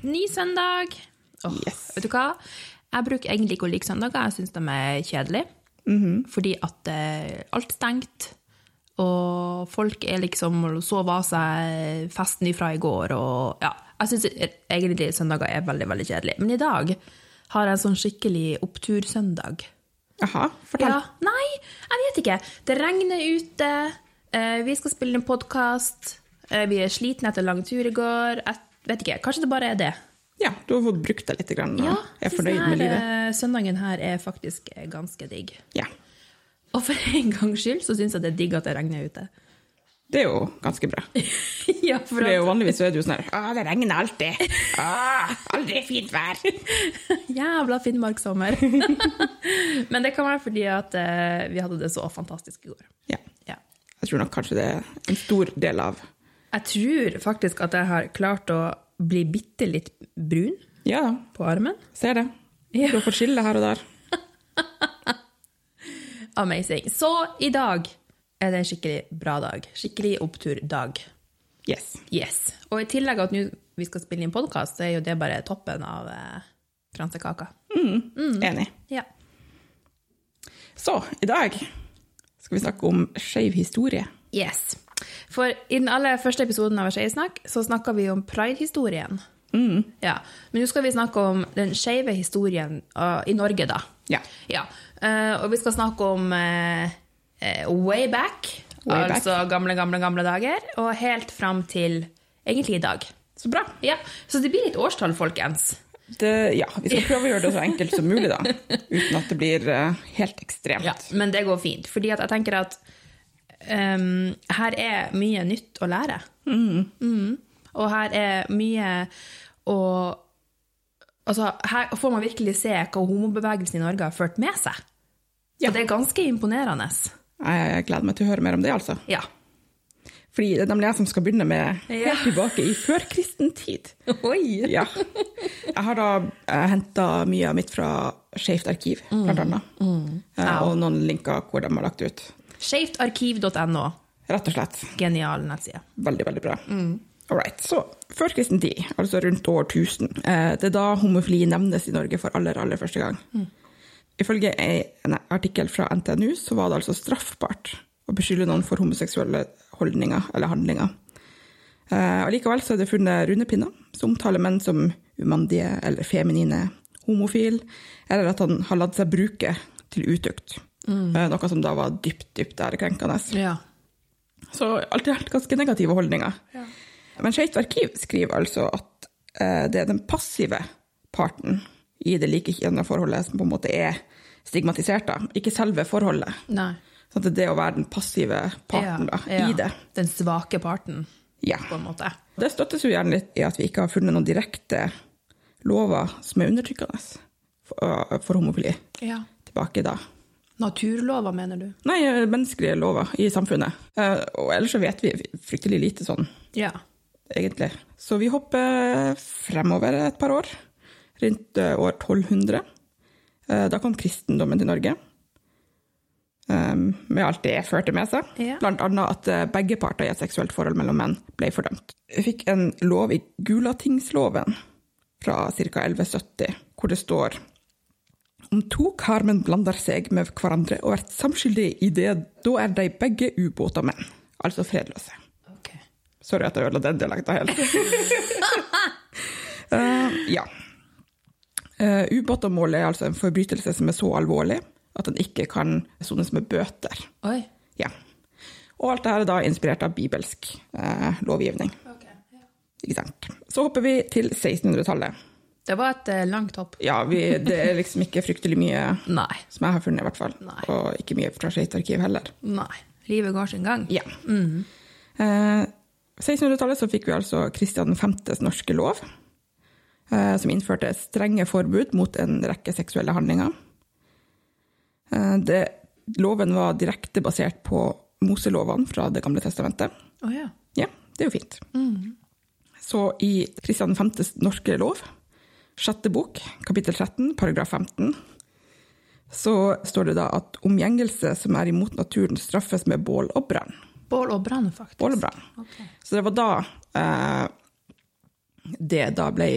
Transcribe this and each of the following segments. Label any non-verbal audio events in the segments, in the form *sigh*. fri søndag. Åh, Yes. Vet du hva? Jeg bruker egentlig ikke å like søndager. Jeg syns de er kjedelige. Fordi at eh, alt er stengt, og folk er liksom og sov av seg festen ifra i går. Og, ja. Jeg syns egentlig søndager er veldig veldig kjedelig. Men i dag har jeg en sånn skikkelig opptursøndag. Jaha, fortell. Ja. Nei, jeg vet ikke. Det regner ute. eh, vi skal spille en podkast. vi er slitne etter lang tur i går. Jeg vet ikke, Kanskje det bare er det. Ja. du har fått brukt deg litt grann, og er jeg synes fornøyd den med livet. her, eh, Søndagen her er faktisk eh, ganske digg. Ja. Og for en gangs skyld så syns jeg det er digg at det regner ute. *laughs* Det er jo ganske bra. ja, for For det er jo at, vanligvis så er det jo sånn her Å, det regner alltid. Å, aldri fint *laughs* vær. Jævla *laughs* Finnmarkssommer. Men det kan være fordi at eh, vi hadde det så fantastisk i går. Ja. Ja. Jeg tror nok kanskje det er en stor del av Jeg tror faktisk at jeg har klart å bli bitte litt brun Ja da, på armen. ser det. Ja. Du har fått skille her og der. Amazing. Så i dag er det en skikkelig bra dag. Skikkelig oppturdag. Yes. Yes. Og i tillegg at nå vi skal spille inn podkast, så er jo det bare toppen av eh, kransekaka. Mm. Enig. Ja. Så i dag skal vi snakke om skeiv historie. Yes. For i den aller første episoden av Skeisnakk så snakka vi om pride-historien. Mm. Ja. Men nå skal vi snakke om den skeive historien eh, i Norge, da. Ja. ja. Eh, og vi skal snakke om eh, eh, way back, Way back. altså gamle, gamle, gamle dager, og helt fram til egentlig i dag. Så bra. Ja, Så det blir litt årstall, folkens. Det, ja, vi skal prøve å gjøre det så enkelt som *laughs* mulig, da. Uten at det blir eh, helt ekstremt. Ja, men det går fint. Fordi at jeg tenker at ehm, her er mye nytt å lære. Mm. Og her er mye å Altså, her får man virkelig se hva homobevegelsen i Norge har ført med seg. Så Ja. det er ganske imponerende. Jeg gleder meg til å høre mer om det, altså. Ja. Fordi det er nemlig jeg som skal begynne med helt Ja. tilbake i førkristen tid. *laughs* Oi! Ja. Jeg har da henta mye av mitt fra Skeivt arkiv, blant annet. Eh, Og noen linker hvor de har lagt ut. Skeivtarkiv.no. Rett og slett. Genial nettside. Veldig, veldig bra. All right, så Før kristen tid, altså rundt år 1000, eh, det er da homofili nevnes i Norge for aller, aller første gang. Ifølge ei- en artikkel fra NTNU så var det altså straffbart å beskylde noen for homoseksuelle holdninger eller handlinger. Eh, Allikevel så er det funnet rundepinner som omtaler menn som umandige eller feminine, homofil, eller at han har latt seg bruke til utukt. Eh, Noe som da var dypt, dypt ærekrenkende. Ja. Så alt i alt ganske negative holdninger. Men Skeivt arkiv skriver altså at eh, det er den passive parten i det likekjønnede forholdet som på en måte er stigmatisert, da. Ikke selve forholdet. Nei. ah, Så det er det å være den passive parten da, Ja. i det. Den svake parten, Ja. på en måte. Det støttes jo gjerne litt i at vi ikke har funnet noen direkte lover som er undertrykkende for, eh, for homofili Ja. tilbake da. Naturlover, mener du? Nei, eh, menneskelige lover i samfunnet. Eh, og ellers så vet vi fryktelig lite sånn Ja. egentlig. Så vi hopper fremover et par år, rundt eh, år 1200. Eh, Da kom kristendommen til Norge, eh, med alt det førte med seg. Ja. Blant annet at eh, begge parter i et seksuelt forhold mellom menn ble fordømt. Vi fikk en lov i Gulatingsloven fra ca. 1170, hvor det står om to karmen blander seg med hverandre og vært samskyldige i det, da er de begge ubåta menn, altså fredløse. Ok. Sorry at jeg ødela den dialekta helt. Eh, ja. Uh, Ubåtavmålet er altså en forbrytelse som er så alvorlig at den ikke kan sones med bøter. Oi. Ja. Og alt dette er da inspirert av bibelsk eh, lovgivning. Ikke sant? Så hopper vi til 1600-tallet. Det var et eh, langt hopp. Ja, vi, det er liksom ikke fryktelig mye Nei. som jeg har funnet, i hvert fall. Nei. Og ikke mye fra Skeivt arkiv heller. Nei. Livet går sin gang. Ja. Mm. Eh, 1600-tallet så fikk vi altså Kristian 5.s norske lov, eh, som innførte strenge forbud mot en rekke seksuelle handlinger. Eh, det, loven var direkte basert på Moselovene fra Det gamle testamentet. Å ja. Ja, det er jo fint. Så i Kristian 5.s norske lov, sjette bok, kapittel 13, paragraf 15, så står det da at omgjengelse som er imot naturen straffes med bål og brann. Bål og brann, faktisk. Bål og brann. Ok. Så det var da eh, det da ble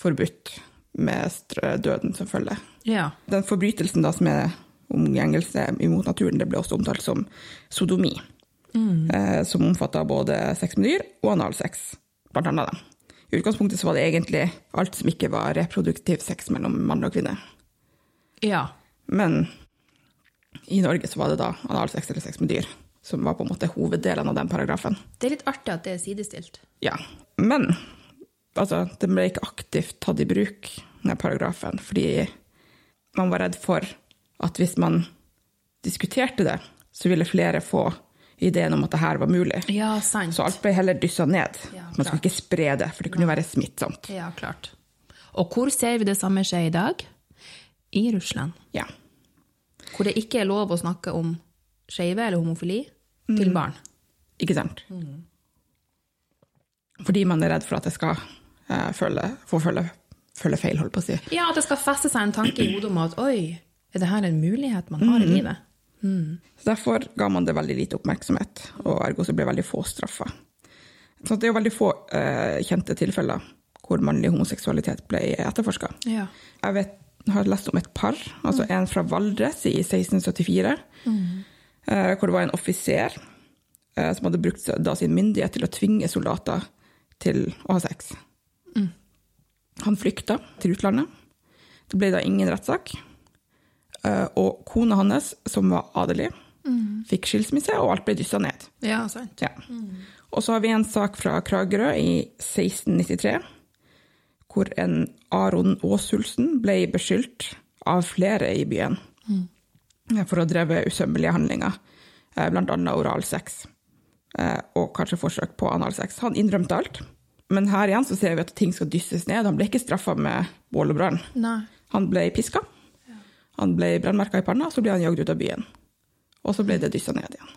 forbudt med str- døden som følge. Ja. Den forbrytelsen da, som er omgjengelse imot naturen, det ble også omtalt som sodomi. Eh, som omfatta både sex med dyr og analsex, blant annet. Da. I utgangspunktet så var det egentlig alt som ikke var reproduktiv sex mellom mann og kvinne. ja. Men i Norge så var det da analsex eller sex med dyr som var på en måte hoveddelen av den paragrafen. Det er litt artig at det er sidestilt. Ja. Men altså, den ble ikke aktivt tatt i bruk, den paragrafen, fordi man var redd for at hvis man diskuterte det, så ville flere få ideen om at det her var mulig. Ja, sant. Så alt ble heller dyssa ned. Ja, man skulle klart. ikke spre det, for det kunne være smittsomt. Ja, klart. Og hvor ser vi det samme skje i dag? I Russland. Ja. Hvor det ikke er lov å snakke om skeive eller homofili til barn. Ikke sant? Fordi man er redd for at det skal eh, føle, få føle, føle feil, holdt på å si. Ja, at det skal feste seg en tanke i hodet om at oi, er det her en mulighet man har i livet? Så Derfor ga man det veldig lite oppmerksomhet, og ergo så ble veldig få straffa. Så det er jo veldig få eh, kjente tilfeller hvor mannlig homoseksualitet ble etterforska. Ja. Jeg vet, har lest om et par, altså en fra Valdres i 1674, eh, hvor det var en offiser eh, som hadde brukt da sin myndighet til å tvinge soldater til å ha sex. Han flykta til utlandet. Det ble da ingen rettssak. Eh, Og kona hans, som var adelig, fikk skilsmisse, og alt ble dyssa ned. Ja, sant. Ja. Og så har vi en sak fra Kragerø i 1693, hvor en Aron Aasulsen ble beskyldt av flere i byen for å ha drevet usømmelige handlinger, eh, blant annet oralsex eh, og kanskje forsøk på analsex. Han innrømte alt, men her igjen så ser vi at ting skal dysses ned. Han ble ikke straffa med bål og brann. Nei. Han ble piska, han ble brannmerka i panna, så ble han jagd ut av byen. Og så ble det dyssa ned igjen.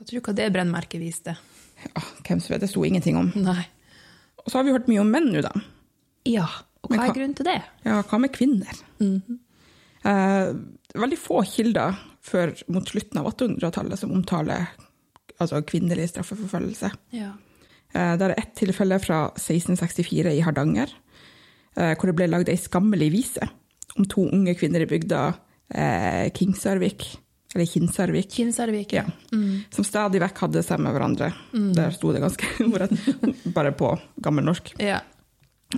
Jeg tror ikke det brennmerket viste. Ja, hvem som vet, det sto ingenting om. Nei. Og så har vi hørt mye om menn nå, da. Ja, og Men hva hva- er grunnen til det? Ja, hva med kvinner? eh, veldig få kilder før mot slutten av 800-tallet som omtaler altså, kvinnelig straffeforfølgelse. Ja. Eh, Det er ett tilfelle fra 1664 i Hardanger, eh, hvor det ble lagd ei skammelig vise om to unge kvinner i bygda eh, Kingsarvik, eller Kinsarvik, Kinsarvik. ja, Mm. som stadig vekk hadde seg med hverandre. Der sto det ganske *laughs* ordrett, bare på gammelnorsk. Ja.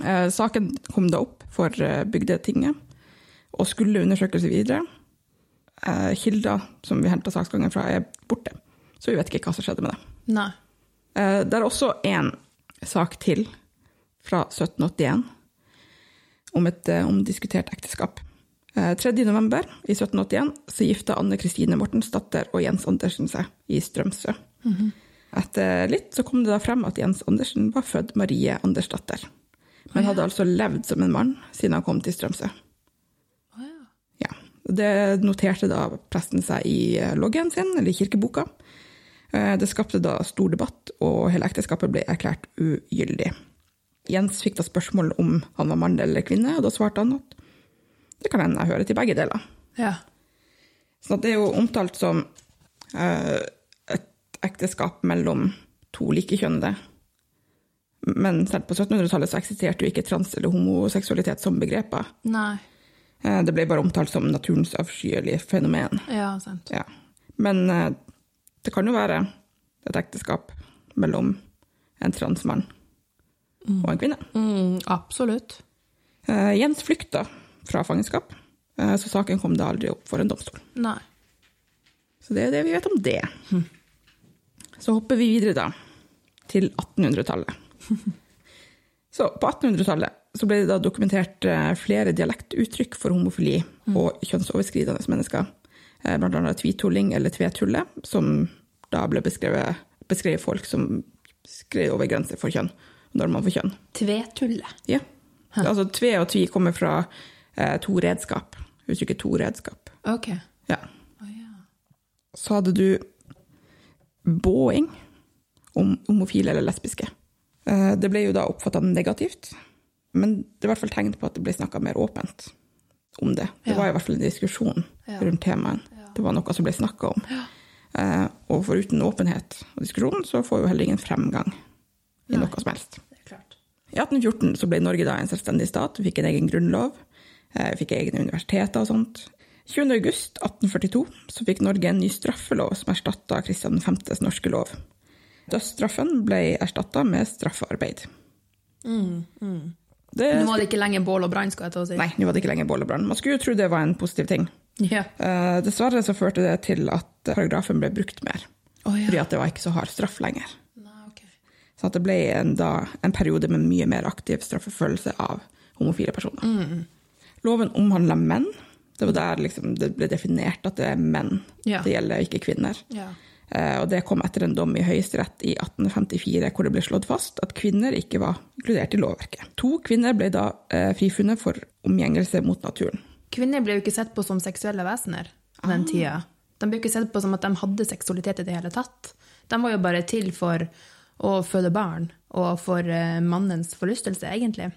Eh, Saken kom da opp for eh, Bygdetinget og skulle undersøkelse videre. Eh, Kilder som vi henta saksgangen fra, er borte, så vi vet ikke hva som skjedde med det. Nei. Eh, Det er også en sak til fra 1781 om et eh, omdiskutert ekteskap. Eh, 3. november i 1781 så gifta Anne Kristine Mortensdatter og Jens Andersen seg i Strømsø. Etter litt så kom det da frem at Jens Andersen var født Marie Andersdatter, men hadde altså levd som en mann siden han kom til Strømsø. Ja, Det noterte da presten seg i eh, loggen sin, eller i kirkeboka. Eh, Det skapte da stor debatt, og hele ekteskapet ble erklært ugyldig. Jens fikk da spørsmål om han var mann eller kvinne, og da svarte han at det kan hende jeg hører til begge deler. Ja. Så det er jo omtalt som eh, et ekteskap mellom to likekjønnede. Men selv på 1700-tallet så eksisterte jo ikke trans- eller homoseksualitet som begreper. Nei. Eh, Det ble bare omtalt som naturens avskyelige fenomen. Ja, sant. Ja. Men eh, det kan jo være et ekteskap mellom en transmann og en kvinne. Mm, absolutt. Eh, Jens flykta fra fangenskap, eh, så saken kom da aldri opp for en domstol. Nei. Så det er det vi vet om det. Så hopper vi videre da, til 1800-tallet. Så på 1800-tallet så ble det da dokumentert eh, flere dialektuttrykk for homofili og kjønnsoverskridende mennesker. Eh, Blant annet tvitulling eller tvetulle, som da ble beskrevet, beskrevet folk som skrev over grenser for kjønn, når man får kjønn. Tvetulle. Ja. Altså tve og tvi kommer fra eh, to redskap, uttrykket to redskap. Ok. Ja. Å, ja. så hadde du båing om homofile eller lesbiske. Eh, Det ble jo da oppfatta negativt, men det er i hvert fall tegn på at det ble snakka mer åpent om det. Det Ja. var i hvert fall en diskusjon Ja. rundt temaet. Det var noe som ble snakka om. Eh, Og foruten åpenhet og diskusjon, så får jo heller ingen fremgang i noe som helst. Det er klart. I 1814 så ble Norge da en selvstendig stat, vi fikk en egen grunnlov, eh, vi fikk egne universiteter og sånt. 20. august 1842 så fikk Norge en ny straffelov som erstatta Kristian 5.s norske lov. Dødsstraffen ble erstatta med straffarbeid. Det, Mm, Nå var det ikke lenger bål og brann, skal jeg ta og si. nei, nå var det ikke lenger bål og brann. Man skulle jo tro det var en positiv ting. Ja. Eh, dessverre så førte det til at paragrafen ble brukt mer, Å, ja. fordi at det var ikke så hard straff lenger. Nei, ok. Så at det ble en, da, en periode med mye mer aktiv straffeforfølgelse av homofile personer. Loven omhandla menn. Det var der liksom det ble definert at det er menn Ja. det gjelder, ikke kvinner. Ja. Eh, og det kom etter en dom i Høyesterett i 1854 hvor det ble slått fast at kvinner ikke var inkludert i lovverket. To kvinner ble da eh, frifunnet for omgjengelse mot naturen. Kvinner ble jo ikke sett på som seksuelle vesener på den tida. De ble jo ikke sett på som at de hadde seksualitet i det hele tatt. De var jo bare til for å føde barn og for eh, mannens forlystelse, egentlig.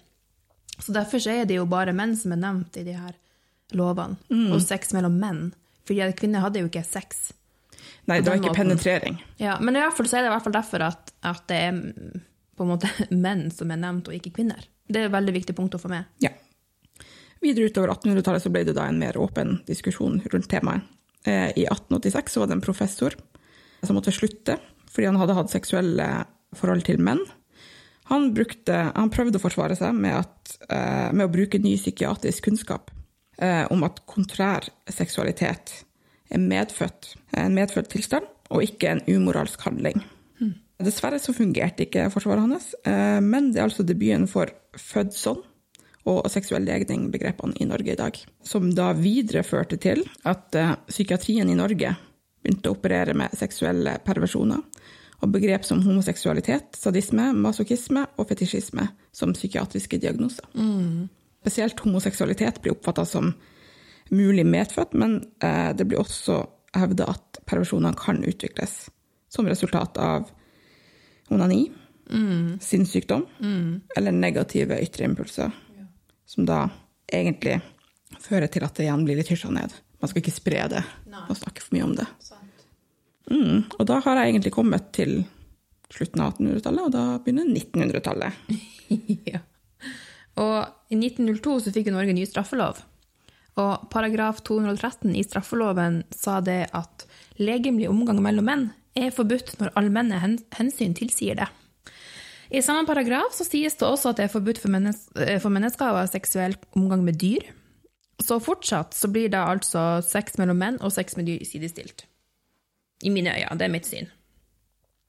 Så derfor så er det jo bare menn som er nevnt i de her lovene, og sex mellom menn. Fordi at kvinner hadde jo ikke sex. Nei, det var den ikke måten. penetrering. Ja, men i hvert fall så er det i hvert fall derfor at, at det er mm, på en måte *laughs* menn som er nevnt, og ikke kvinner. Det er et veldig viktig punkt å få med. Ja. Videre utover 1800-tallet så ble det da en mer åpen diskusjon rundt temaet. Eh, I 1886 så var det en professor som måtte slutte fordi han hadde hatt seksuelle forhold til menn. Han, brukte, han prøvde å forsvare seg med, at, eh, med å bruke ny psykiatrisk kunnskap eh, om at kontrær seksualitet er medfødt, en medfødt tilstand og ikke en umoralsk handling. Dessverre så fungerte ikke forsvaret hans, eh, men det er altså debuten for født sånn og seksuell legning-begrepene i Norge i dag, som da videre førte til at eh, psykiatrien i Norge begynte å operere med seksuelle perversjoner, og begrep som homoseksualitet, sadisme, masochisme og fetisjisme som psykiatriske diagnoser. Spesielt homoseksualitet blir oppfatta som mulig medfødt, men eh, det blir også hevda at perversjonene kan utvikles som resultat av onani, sinnssykdom eller negative ytre impulser. Som da egentlig fører til at det igjen blir litt hysja ned. Man skal ikke spre det og snakke for mye om det. Mm. Og da har jeg egentlig kommet til slutten av 1800-tallet, og da begynner 1900-tallet. *laughs* ja. Og i 1902 så fikk jo Norge ny straffelov. Og paragraf 213 i straffeloven sa det at legemlig omgang mellom menn er forbudt når allmenne hen hensyn tilsier det. I samme paragraf så sies det også at det er forbudt for, mennes eh, for mennesker å ha seksuell omgang med dyr. Så fortsatt så blir da altså sex mellom menn og sex med dyr sidestilt. I mine øyne, det er mitt syn.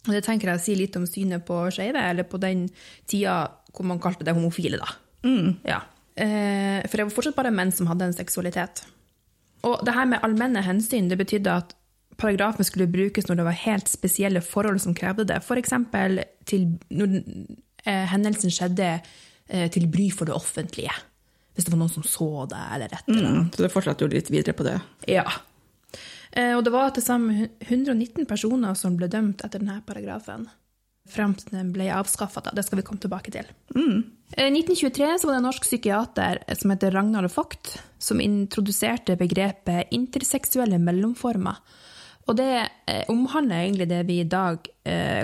Og det tenker jeg sier litt om synet på skeive, eller på den tida hvor man kalte det homofile, da. Ja. Eh, for det var fortsatt bare menn som hadde en seksualitet. Og det her med allmenne hensyn, det betydde at paragrafen skulle brukes når det var helt spesielle forhold som krevde det. For eksempel til, når eh, hendelsen skjedde eh, til bry for det offentlige. Hvis det var noen som så det, eller et eller annet. Mm. Så det fortsetter jo litt videre på det. Ja. Eh, Og det var til sammen 119 personer som ble dømt etter denne paragrafen. Frem til den ble avskaffa, det skal vi komme tilbake til. I 1923 så var det en norsk psykiater eh, som heter Ragnar Vogt, som introduserte begrepet interseksuelle mellomformer. Og det eh, omhandler egentlig det vi i dag eh,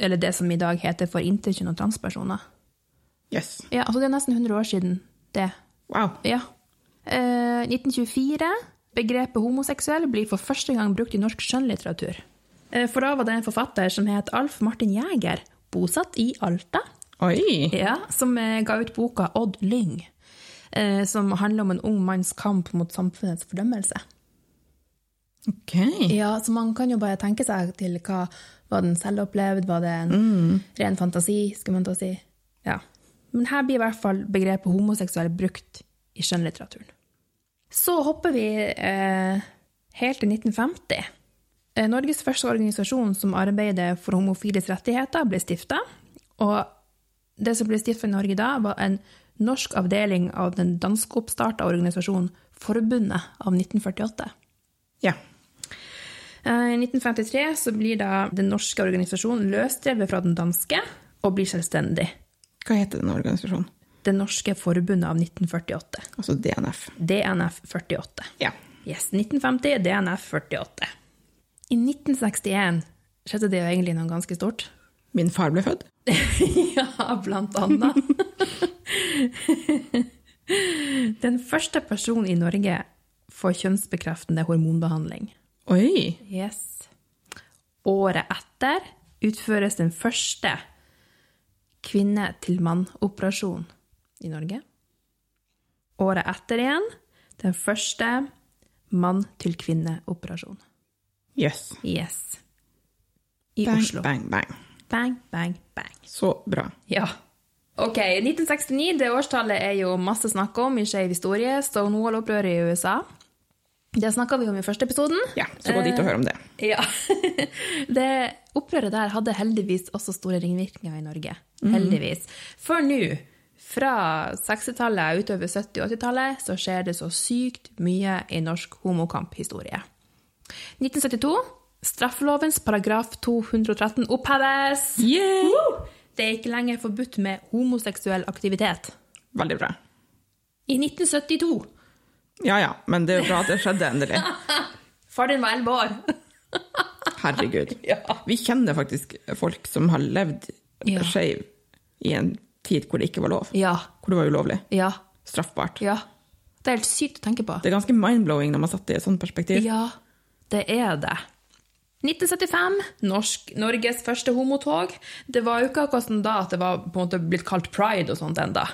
Eller det som i dag heter for interkjønn og transpersoner. Yes. Ja, altså Det er nesten 100 år siden det. Wow. Ja. Eh, 1924. Begrepet homoseksuell blir for første gang brukt i norsk skjønnlitteratur. Eh, for da var det en forfatter som het Alf Martin Jæger, bosatt i Alta, Oi! ja, som eh, ga ut boka Odd Lyng, eh, som handler om en ung manns kamp mot samfunnets fordømmelse. Ok. Ja, så man kan jo bare tenke seg til hva var den selv opplevd, var det en ren fantasi, skal man da si. Ja. Men her blir i hvert fall begrepet homoseksuell brukt i skjønnlitteraturen. Så hopper vi eh, helt til 1950. Eh, Norges første organisasjon som arbeider for homofiles rettigheter, ble stifta. Og det som ble stifta i Norge da, var en norsk avdeling av den danskeoppstarta organisasjonen Forbundet av 1948. Ja. Eh, I 1953 så blir da den norske organisasjonen løsdrevet fra den danske og blir selvstendig. Hva heter den organisasjonen? Det norske forbundet av 1948. Altså DNF. DNF 48. Ja. Yes, 1950, DNF 48. I 1961 skjedde det jo egentlig noe ganske stort. Min far ble født. *laughs* ja, blant annet. *laughs* Den første personen i Norge får kjønnsbekreftende hormonbehandling. Oi! Yes. Året etter utføres den første kvinne-til-mann-operasjon i Norge. Året etter igjen den første mann-til-kvinne-operasjon. Jøss. Yes. Yes. I Bang, Oslo. bang, bang. Bang, bang, bang. Så bra. Ja. Ok, 1969, det årstallet er jo masse snakk om i skeiv historie. Stonewall-opprøret i USA. Det snakka vi om i første episoden. Ja, så gå dit Eh. og hør om det. Ja. *laughs* det opprøret der hadde heldigvis også store ringvirkninger i Norge. Heldigvis. For nå, fra 60-tallet og utover 70- og 80-tallet, så skjer det så sykt mye i norsk homokamphistorie. 1972, straffelovens paragraf 213 oppheves! Woo! Det er ikke lenger forbudt med homoseksuell aktivitet. Veldig bra. I 1972 Ja ja, men det er jo bra at det skjedde endelig. Far din var elleve år! Herregud. *laughs* Ja. Vi kjenner faktisk folk som har levd Ja. skeiv i en tid hvor det ikke var lov. Ja. Hvor det var ulovlig. Ja. Straffbart. Ja. Det er helt sykt å tenke på. Det er ganske mind-blowing når man setter det i et sånt perspektiv. Ja, det er det. 1975, norsk, Norges første homotog. Det var jo ikke akkurat sånn da at det var på en måte blitt kalt pride og sånt enda.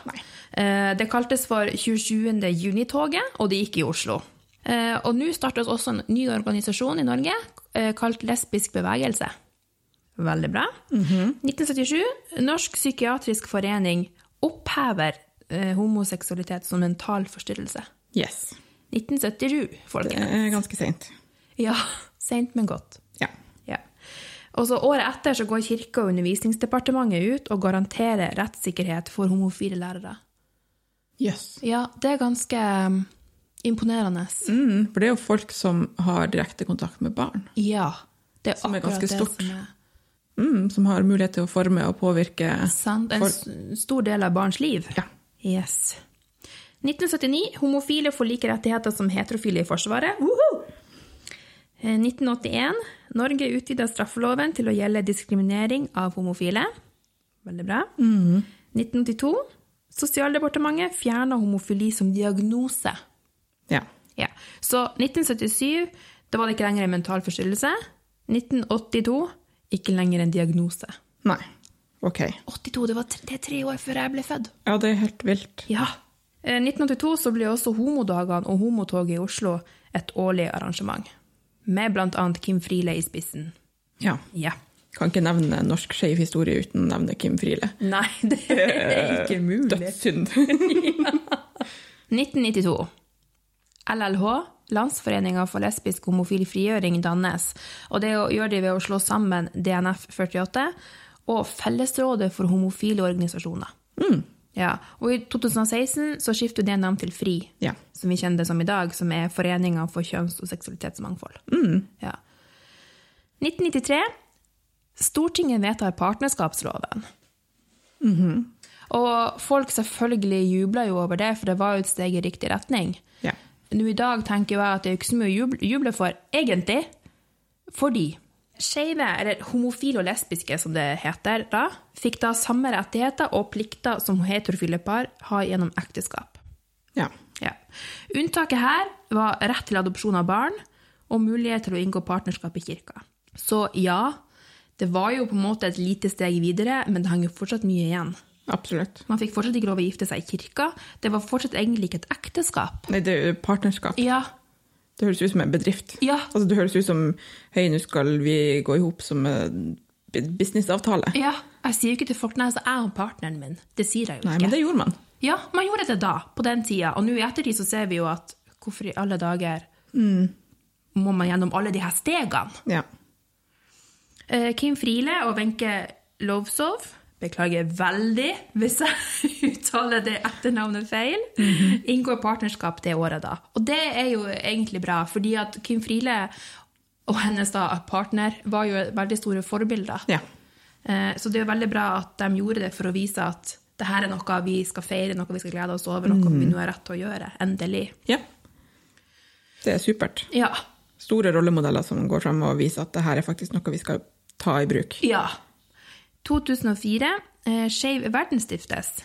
Eh, Det kaltes for 27. juni-toget, og det gikk i Oslo. Eh, Og nå startes også en ny organisasjon i Norge eh, kalt Lesbisk bevegelse. Veldig bra. 1977, Norsk psykiatrisk forening opphever eh, homoseksualitet som mental forstyrrelse. Yes. 1977, folkens. Det er ganske seint. Ja, sent men godt. Ja. Ja. Og så Året etter så går Kirke- og undervisningsdepartementet ut og garanterer rettssikkerhet for homofile lærere. Yes. Ja, det er ganske um, imponerende. Mm, for det er jo folk som har direkte kontakt med barn. Ja. Det er Som er akkurat ganske det stort. Som er Mm, som har mulighet til å forme og påvirke sant. En For- s- stor del av barns liv. Ja. Yes. 1979. Homofile får like rettigheter som heterofile i Forsvaret. Woho! Eh, 1981. Norge utvider straffeloven til å gjelde diskriminering av homofile. Veldig bra. Mm. 1982. Sosialdepartementet fjerner homofili som diagnose. Ja. Ja. Så 1977, da var det ikke lenger en mental forstyrrelse. 1982, ikke lenger en diagnose. Nei. OK. 82, det, var tre, det er tre år før jeg ble født. Ja, det er helt vilt. Ja. Eh, 1982 så ble også homodagene og homotoget i Oslo et årlig arrangement. Med bl.a. Kim Friele i spissen. Ja. Ja. Kan ikke nevne norsk skeiv historie uten å nevne Kim Friele. Nei, *laughs* det er ikke mulig. Dødssynd. 1992. LLH, Landsforeninga for lesbisk homofil frigjøring, dannes. Og det å- gjør de ved å slå sammen DNF48 og Fellesrådet for homofile organisasjoner. Ja, og I 2016 så skifter det navn til FRI, Ja. som vi kjenner det som i dag, som er Foreninga for kjønns- og seksualitetsmangfold. Ja. 1993. Stortinget vedtar partnerskapsloven. Mm-hmm. Og folk selvfølgelig jubla jo over det, for det var jo et steg i riktig retning. Ja. Nå i dag tenker jeg at det er jo ikke så mye å juble, juble for, egentlig. Fordi skeive, eller homofile og lesbiske som det heter da, fikk da samme rettigheter og plikter som heterofile par har gjennom ekteskap. ja. Ja. Unntaket her var rett til adopsjon av barn og mulighet til å inngå partnerskap i kirka. Så ja, det var jo på en måte et lite steg videre, men det hang jo fortsatt mye igjen. Absolutt. Man fikk fortsatt ikke lov å gifte seg i kirka. Det var fortsatt egentlig ikke et ekteskap. Nei, det er jo partnerskap. Ja, Det høres ut som en bedrift. Ja. Altså, det høres ut som Hei, nå skal vi gå i hop som en businessavtale. Ja, jeg sier jo ikke til folk nei, så er han partneren min. Det sier jeg jo Nei, ikke. men det gjorde man. Ja, man gjorde det da, på den tida. Og nå i ettertid så ser vi jo at hvorfor i alle dager Mm. må man gjennom alle de her stegene? Ja. Eh, Kim Friele og Wenche Lovsov Beklager veldig hvis jeg *laughs* uttaler det etternavnet feil. Inngår partnerskap det året, da. Og det er jo egentlig bra, fordi at Kim Friele og hennes da, partner var jo veldig store forbilder. ja. Eh, Så det er jo veldig bra at de gjorde det for å vise at det her er noe vi skal feire, noe vi skal glede oss over, noe vi nå har rett til å gjøre. Endelig. Ja. Det er supert. Ja. Store rollemodeller som går fram og viser at det her er faktisk noe vi skal ta i bruk. Ja. 2004 eh, Skeiv verden stiftes.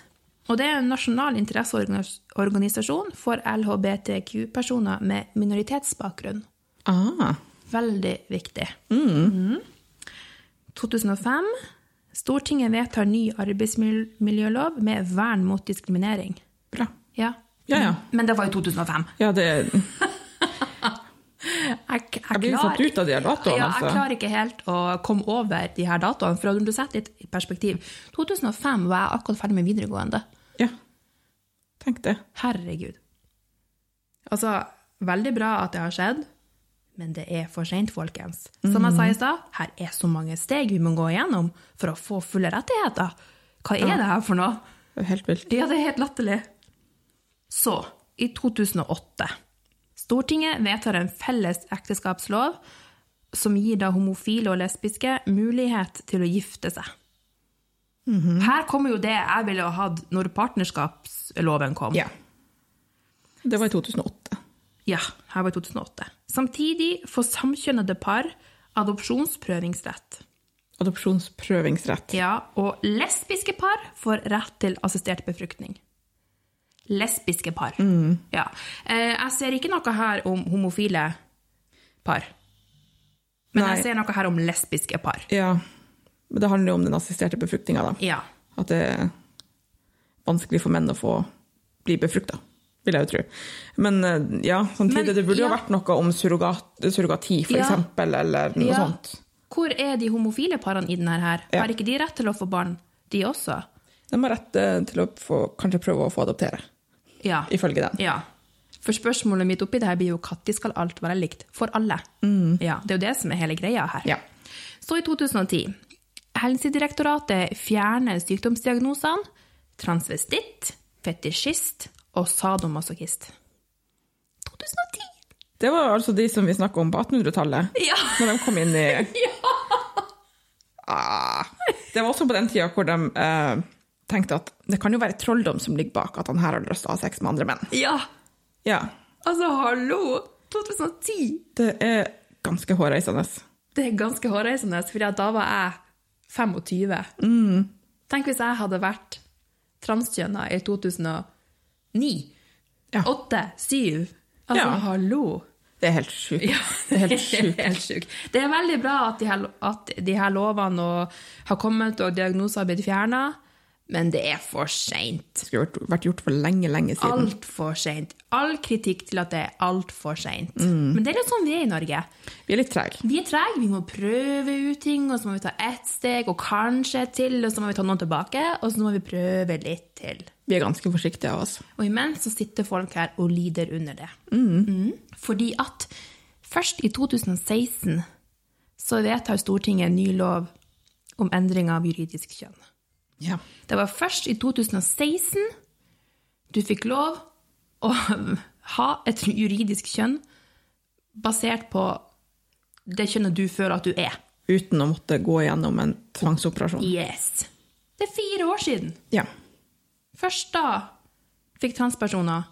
Og det er en nasjonal interesseorganisasjon for LHBTQ-personer med minoritetsbakgrunn. Ah. Veldig viktig. Mhm. 2005 Stortinget vedtar ny arbeidsmiljølov med vern mot diskriminering. Bra. Ja. Ja, ja. Men det var i 2005. Ja, det Jeg, jeg, Jeg blir jo klarer- satt ut av de her datoene, Ja, altså. jeg klarer ikke helt å komme over de her datoene. For om du setter litt i perspektiv 2005 var jeg akkurat ferdig med videregående. Ja. Tenk det. Herregud. Altså, veldig bra at det har skjedd, men det er for sent, folkens. Som jeg sa i stad, her er så mange steg vi må gå igjennom for å få fulle rettigheter. Hva er det her for noe? Det er helt vilt. Ja, det er helt latterlig. Så, i 2008. Stortinget vedtar en felles ekteskapslov som gir da homofile og lesbiske mulighet til å gifte seg. Her kommer jo det jeg ville ha hatt når partnerskapsloven kom. Ja. Det var i 2008. Ja, her var i 2008. Samtidig får samkjønnede par adopsjonsprøvingsrett. Adopsjonsprøvingsrett. Ja, og lesbiske par får rett til assistert befruktning. Lesbiske par. Mm. Ja. Eh, Jeg ser ikke noe her om homofile par. Men Nei. jeg ser noe her om lesbiske par. Ja. Men det handler jo om den assisterte befruktninga, da. Ja. At det er vanskelig for menn å få bli befrukta, vil jeg jo tro. Men eh, ja, samtidig, Men, det burde jo ja. vært noe om surrogat, surrogati, for Ja. eksempel, eller noe Ja. sånt. Hvor er de homofile parene i denne her? Ja. Har ikke de rett til å få barn, de også? De har rett eh, til å få, kanskje prøve å få adoptere, Ja. ifølge den. Ja. For spørsmålet mitt oppi det her blir jo når skal alt være likt for alle? Ja, det er jo det som er hele greia her. Ja. Så i 2010. Helsedirektoratet fjerner sykdomsdiagnosene transvestitt, fetisjist og sadomasochist. 2010! Det var altså de som vi snakka om på 1800-tallet, Ja. når de kom inn i ah, Det var også på den tida hvor de eh, tenkte at det kan jo være trolldom som ligger bak at han her har lyst til å ha sex med andre menn. Ja! Ja, Altså, hallo! 2010! Det er ganske hårreisende. Det er ganske hårreisende, for da var jeg 25. Mm. Tenk hvis jeg hadde vært transkjønna i 2009. Ja. 8, 7. Altså, Ja. hallo. Det er helt sjukt. Det er helt sjukt. Helt sjukt. *laughs* Det er veldig bra at de her, at de her lovene og, har kommet, og diagnoser har blitt fjerna, men det er for seint. Det skulle vært, vært gjort for lenge, lenge siden. Altfor seint. All kritikk til at det er altfor seint. Mm. Men det er litt sånn vi er i Norge. Vi er litt trege. Vi er trege, vi må prøve ut ting, og så må vi ta ett steg, og kanskje et til, og så må vi ta noen tilbake, og så må vi prøve litt til. Vi er ganske forsiktige av oss. Og imens så sitter folk her og lider under det. Mm. Fordi at først i 2016 så vedtar Stortinget en ny lov om endring av juridisk kjønn. Ja. Det var først i 2016 du fikk lov å *laughs* ha et juridisk kjønn basert på det kjønnet du føler at du er. Uten å måtte gå gjennom en tvangsoperasjon. Yes. Det er fire år siden. Ja. Først da fikk transpersoner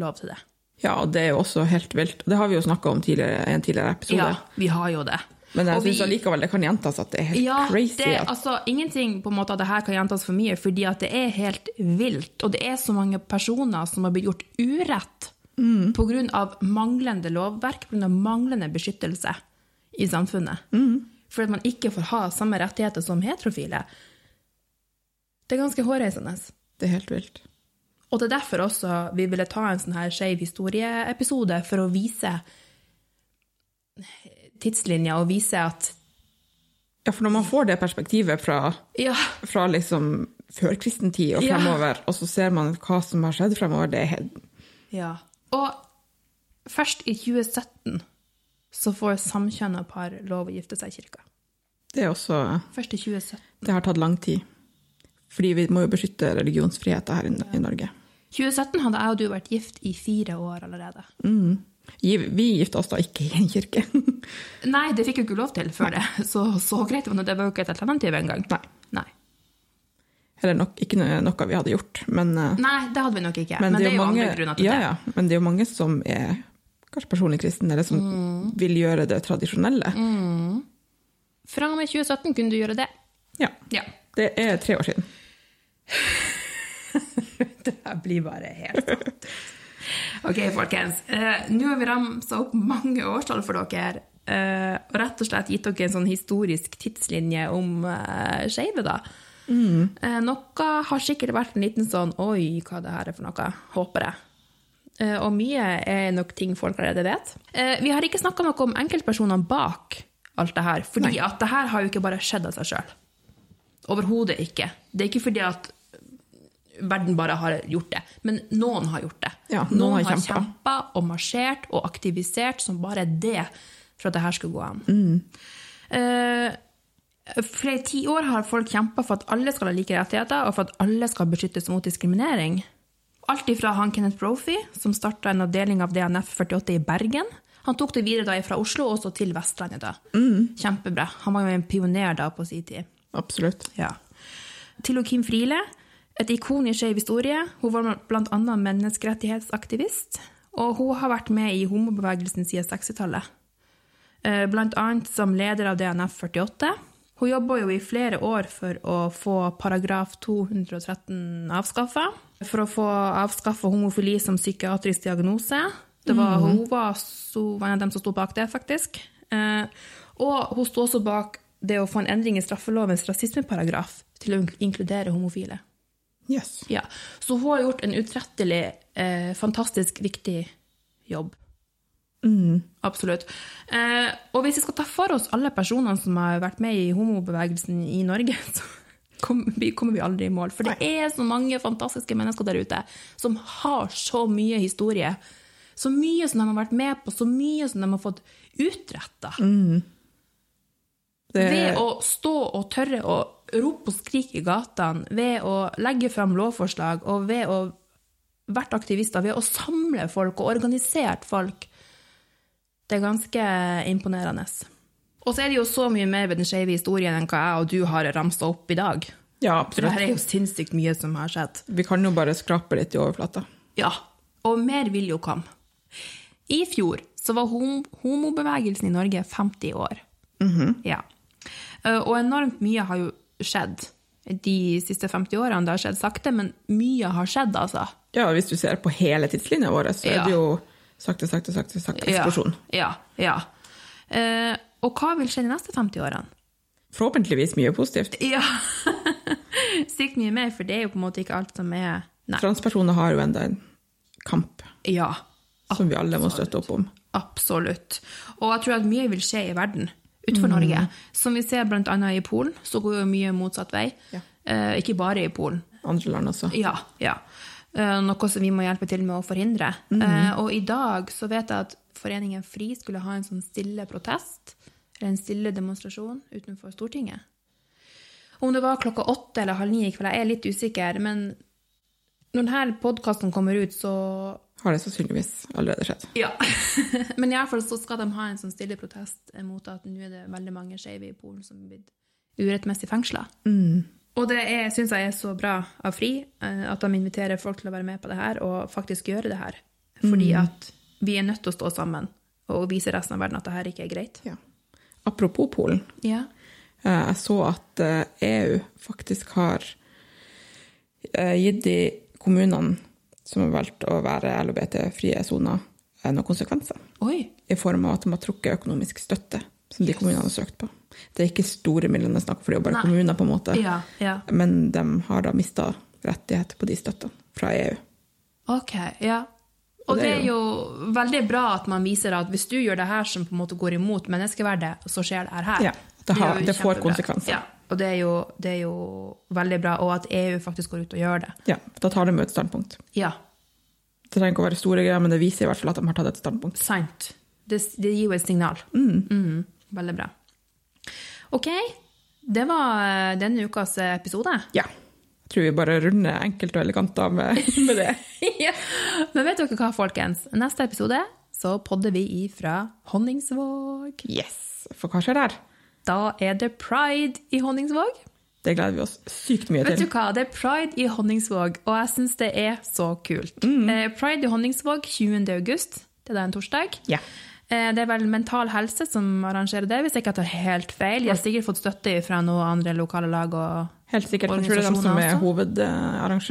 lov til det. ja, og det er jo også helt vilt. Det har vi jo snakka om tidligere, i en tidligere episode. Ja, vi har jo det. Men jeg Og vi- syns allikevel det kan gjentas at det er helt ja, crazy. Det, at, altså, ingenting på en måte av det her kan gjentas for mye, fordi at det er helt vilt. Og det er så mange personer som har blitt gjort urett Mm. på grunn av manglende lovverk, pga. manglende beskyttelse i samfunnet. Mm. Fordi at man ikke får ha samme rettigheter som heterofile. Det er ganske hårreisende. det er helt vilt. Og det er derfor også vi ville ta en sånn her skeiv historieepisode, for å vise tidslinja og vise at Ja, for når man får det perspektivet fra, ja, fra liksom før kristen tid og Ja. fremover, og så ser man hva som har skjedd fremover, det er helt Ja. Og først i 2017 så får samkjønna par lov å gifte seg i kirka. Det er også Først i 2017. Det har tatt lang tid. Fordi vi må jo beskytte religionsfriheten her i, i Norge. 2017 hadde jeg og du vært gift i fire år allerede. Gi- Vi gifta oss da ikke i en kirke. *laughs* Nei, det fikk jo ikke lov til før det, så så greit var det. Det var jo ikke et alternativ engang. Nei. Nei. Eller nok, ikke noe- noe vi hadde gjort, men, eh, Nei, det hadde vi nok ikke. Men, det er jo mange, andre grunner til ja, det. ja, men det er jo mange som er kanskje personlig kristne, eller som Mm. vil gjøre det tradisjonelle. Fra og med 2017 kunne du gjøre det. Ja. Ja. Det er tre år siden. *laughs* Det her blir bare helt sant. Ok, folkens. Eh, Nå har vi ramsa opp mange årstall for dere. eh, og rett og slett gitt dere en sånn historisk tidslinje om uh, skeive, da. Eh, noe har sikkert vært en liten sånn 'oi, hva det her er for noe', håper jeg. Eh, og mye er nok ting folk allerede vet. Eh, vi har ikke snakka noe om enkeltpersonene bak alt det her, fordi at det her har jo ikke bare skjedd av seg sjøl. Overhodet ikke. Det er ikke fordi at verden bare har gjort det. Men noen har gjort det. Ja, noen noen har har kjempet. kjempa og marsjert og aktivisert som bare det for at det her skulle gå an. Mm. Eh, flere tiår har folk kjempa for at alle skal ha like rettigheter, og for at alle skal beskyttes mot diskriminering. Alt ifra han Kenneth Brophy, som starta en avdeling av DNF 48 i Bergen. Han tok det videre da fra Oslo og så til Vestlandet. da. Mm. Kjempebra. Han var jo en pioner da på sin tid. Absolutt. Ja. Til og Kim Friele, et ikon i skeiv historie. Hun var blant annet menneskerettighetsaktivist, og hun har vært med i homobevegelsen siden 60-tallet. Eh, Blant annet som leder av DNF 48. Hun jobba jo i flere år for å få paragraf 213 avskaffa. For å få avskaffa homofili som psykiatrisk diagnose. Det var, Hun var så, var en av dem som sto bak det, faktisk. Eh, og hun sto også bak det å få en endring i straffelovens rasismeparagraf til å ink- inkludere homofile. Yes. Ja. Så hun har gjort en utrettelig, eh, fantastisk viktig jobb. Absolutt. Eh, og hvis vi skal ta for oss alle personene som har vært med i homobevegelsen i Norge, *laughs* så kom, vi, kommer vi aldri i mål. For det er så mange fantastiske mennesker der ute som har så mye historie. Så mye som de har vært med på, så mye som de har fått utretta. Det, Ved å stå og tørre å rope og skrike i gatene, ved å legge fram lovforslag, og ved å vært aktivister, ved å samle folk og organisert folk. Det er ganske imponerende. Og så er det jo så mye mer ved den skeive historien enn hva jeg og du har ramsa opp i dag. ja, For det absolutt. her er jo sinnssykt mye som har skjedd. Vi kan jo bare skrape litt i overflata. Ja, og mer vil jo komme. I fjor så var hom homobevegelsen i Norge 50 år. Ja. Eh, Og enormt mye har jo skjedd de siste 50 årene. Det har skjedd sakte, men mye har skjedd, altså. Ja, hvis du ser på hele tidslinja vår, så er Ja. det jo sakte, sakte, sakte, sakte eksplosjon. Ja, ja. ja. Eh, Og hva vil skje de neste 50 årene? Forhåpentligvis mye positivt. Ja, *laughs* sykt mye mer, for det er jo på en måte ikke alt som er Nei. Transpersoner har jo enda en kamp Ja, som vi alle må støtte opp om. Absolutt. Og jeg tror at mye vil skje i verden utenfor Norge. Som vi ser bl.a. i Polen, så går jo mye motsatt vei. Ja. Eh, ikke bare i Polen. Andre land også. Ja, ja. Eh, noe som vi må hjelpe til med å forhindre. Eh, og i dag så vet jeg at Foreningen FRI skulle ha en sånn stille protest, eller en stille demonstrasjon utenfor Stortinget. Om det var klokka åtte eller halv ni i kveld, jeg er litt usikker, men når denne podkasten kommer ut, så Har det sannsynligvis allerede skjedd. ja. *laughs* Men i alle fall så skal de ha en sånn stille protest mot at nå er det veldig mange skeive i Polen som er blitt urettmessig fengsla. Og det syns jeg er så bra av FRI, eh, at de inviterer folk til å være med på det her og faktisk gjøre det her. Fordi at vi er nødt til å stå sammen og vise resten av verden at det her ikke er greit. Ja. Apropos Polen. Ja. Eh, Jeg så at eh, EU faktisk har eh, gitt de kommunene som har valgt å være LHBT-frie soner, eh, noen konsekvenser. Oi. I form av at de har trukket økonomisk støtte som de kommunene har søkt på. Det er ikke store midlene det er snakk om, for det er jo bare Nei. kommuner, på en måte. Ja. ja. Men de har da mista rettigheter på de støttene fra E EU. Ok, ja. Og det er jo veldig bra at man viser at hvis du gjør det her som på en måte går imot menneskeverdet, så skjer det her her. Ja, det har- er jo det får kjempebra. konsekvenser. Ja, og det er, jo, det er jo veldig bra, og at EU faktisk går ut og gjør det. Ja, Da tar de jo et standpunkt. Ja, Det trenger ikke å være store greier, men det viser i hvert fall at de har tatt et standpunkt. sant. Det, det gir jo et signal. Mhm, veldig bra. Ok, det var eh, denne ukas episode. Ja. Jeg tror vi bare runder enkelt og elegant *laughs* av med, med det. Ja. Men vet dere hva, folkens? Neste episode så podder vi ifra Honningsvåg. Yes! For hva skjer der? Da er det pride i Honningsvåg. Det gleder vi oss sykt mye Vet du til. hva, det er pride i Honningsvåg, og jeg syns Mm. det er så kult. Eh, Pride i Honningsvåg 20. august, det er da en torsdag. Ja. Eh, Det er vel Mental Helse som arrangerer det, hvis jeg ikke tar helt feil. De har sikkert fått støtte fra noen andre lokale lag. og... Helt sikkert. Jeg tror det er de som er Organisasjoner også?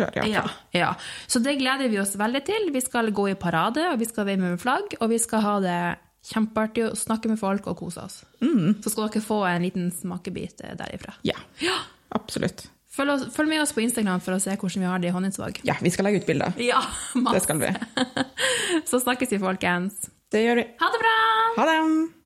hovedarrangør. Ja. Ja, ja. Så det gleder vi oss veldig til. Vi skal gå i parade, og vi skal veive med flagg, og vi skal ha det kjempeartig og snakke med folk og kose oss. Mm. Så skal dere få en liten smakebit eh, derifra. ja. Ja. Absolutt. Følg, oss, følg med oss på Instagram for å se hvordan vi har det i Honningsvåg. Ja, vi skal legge ut bilder. Ja, Det masse. skal vi. Så snakkes vi, folkens. Det gjør vi. Ha det bra! Ha det!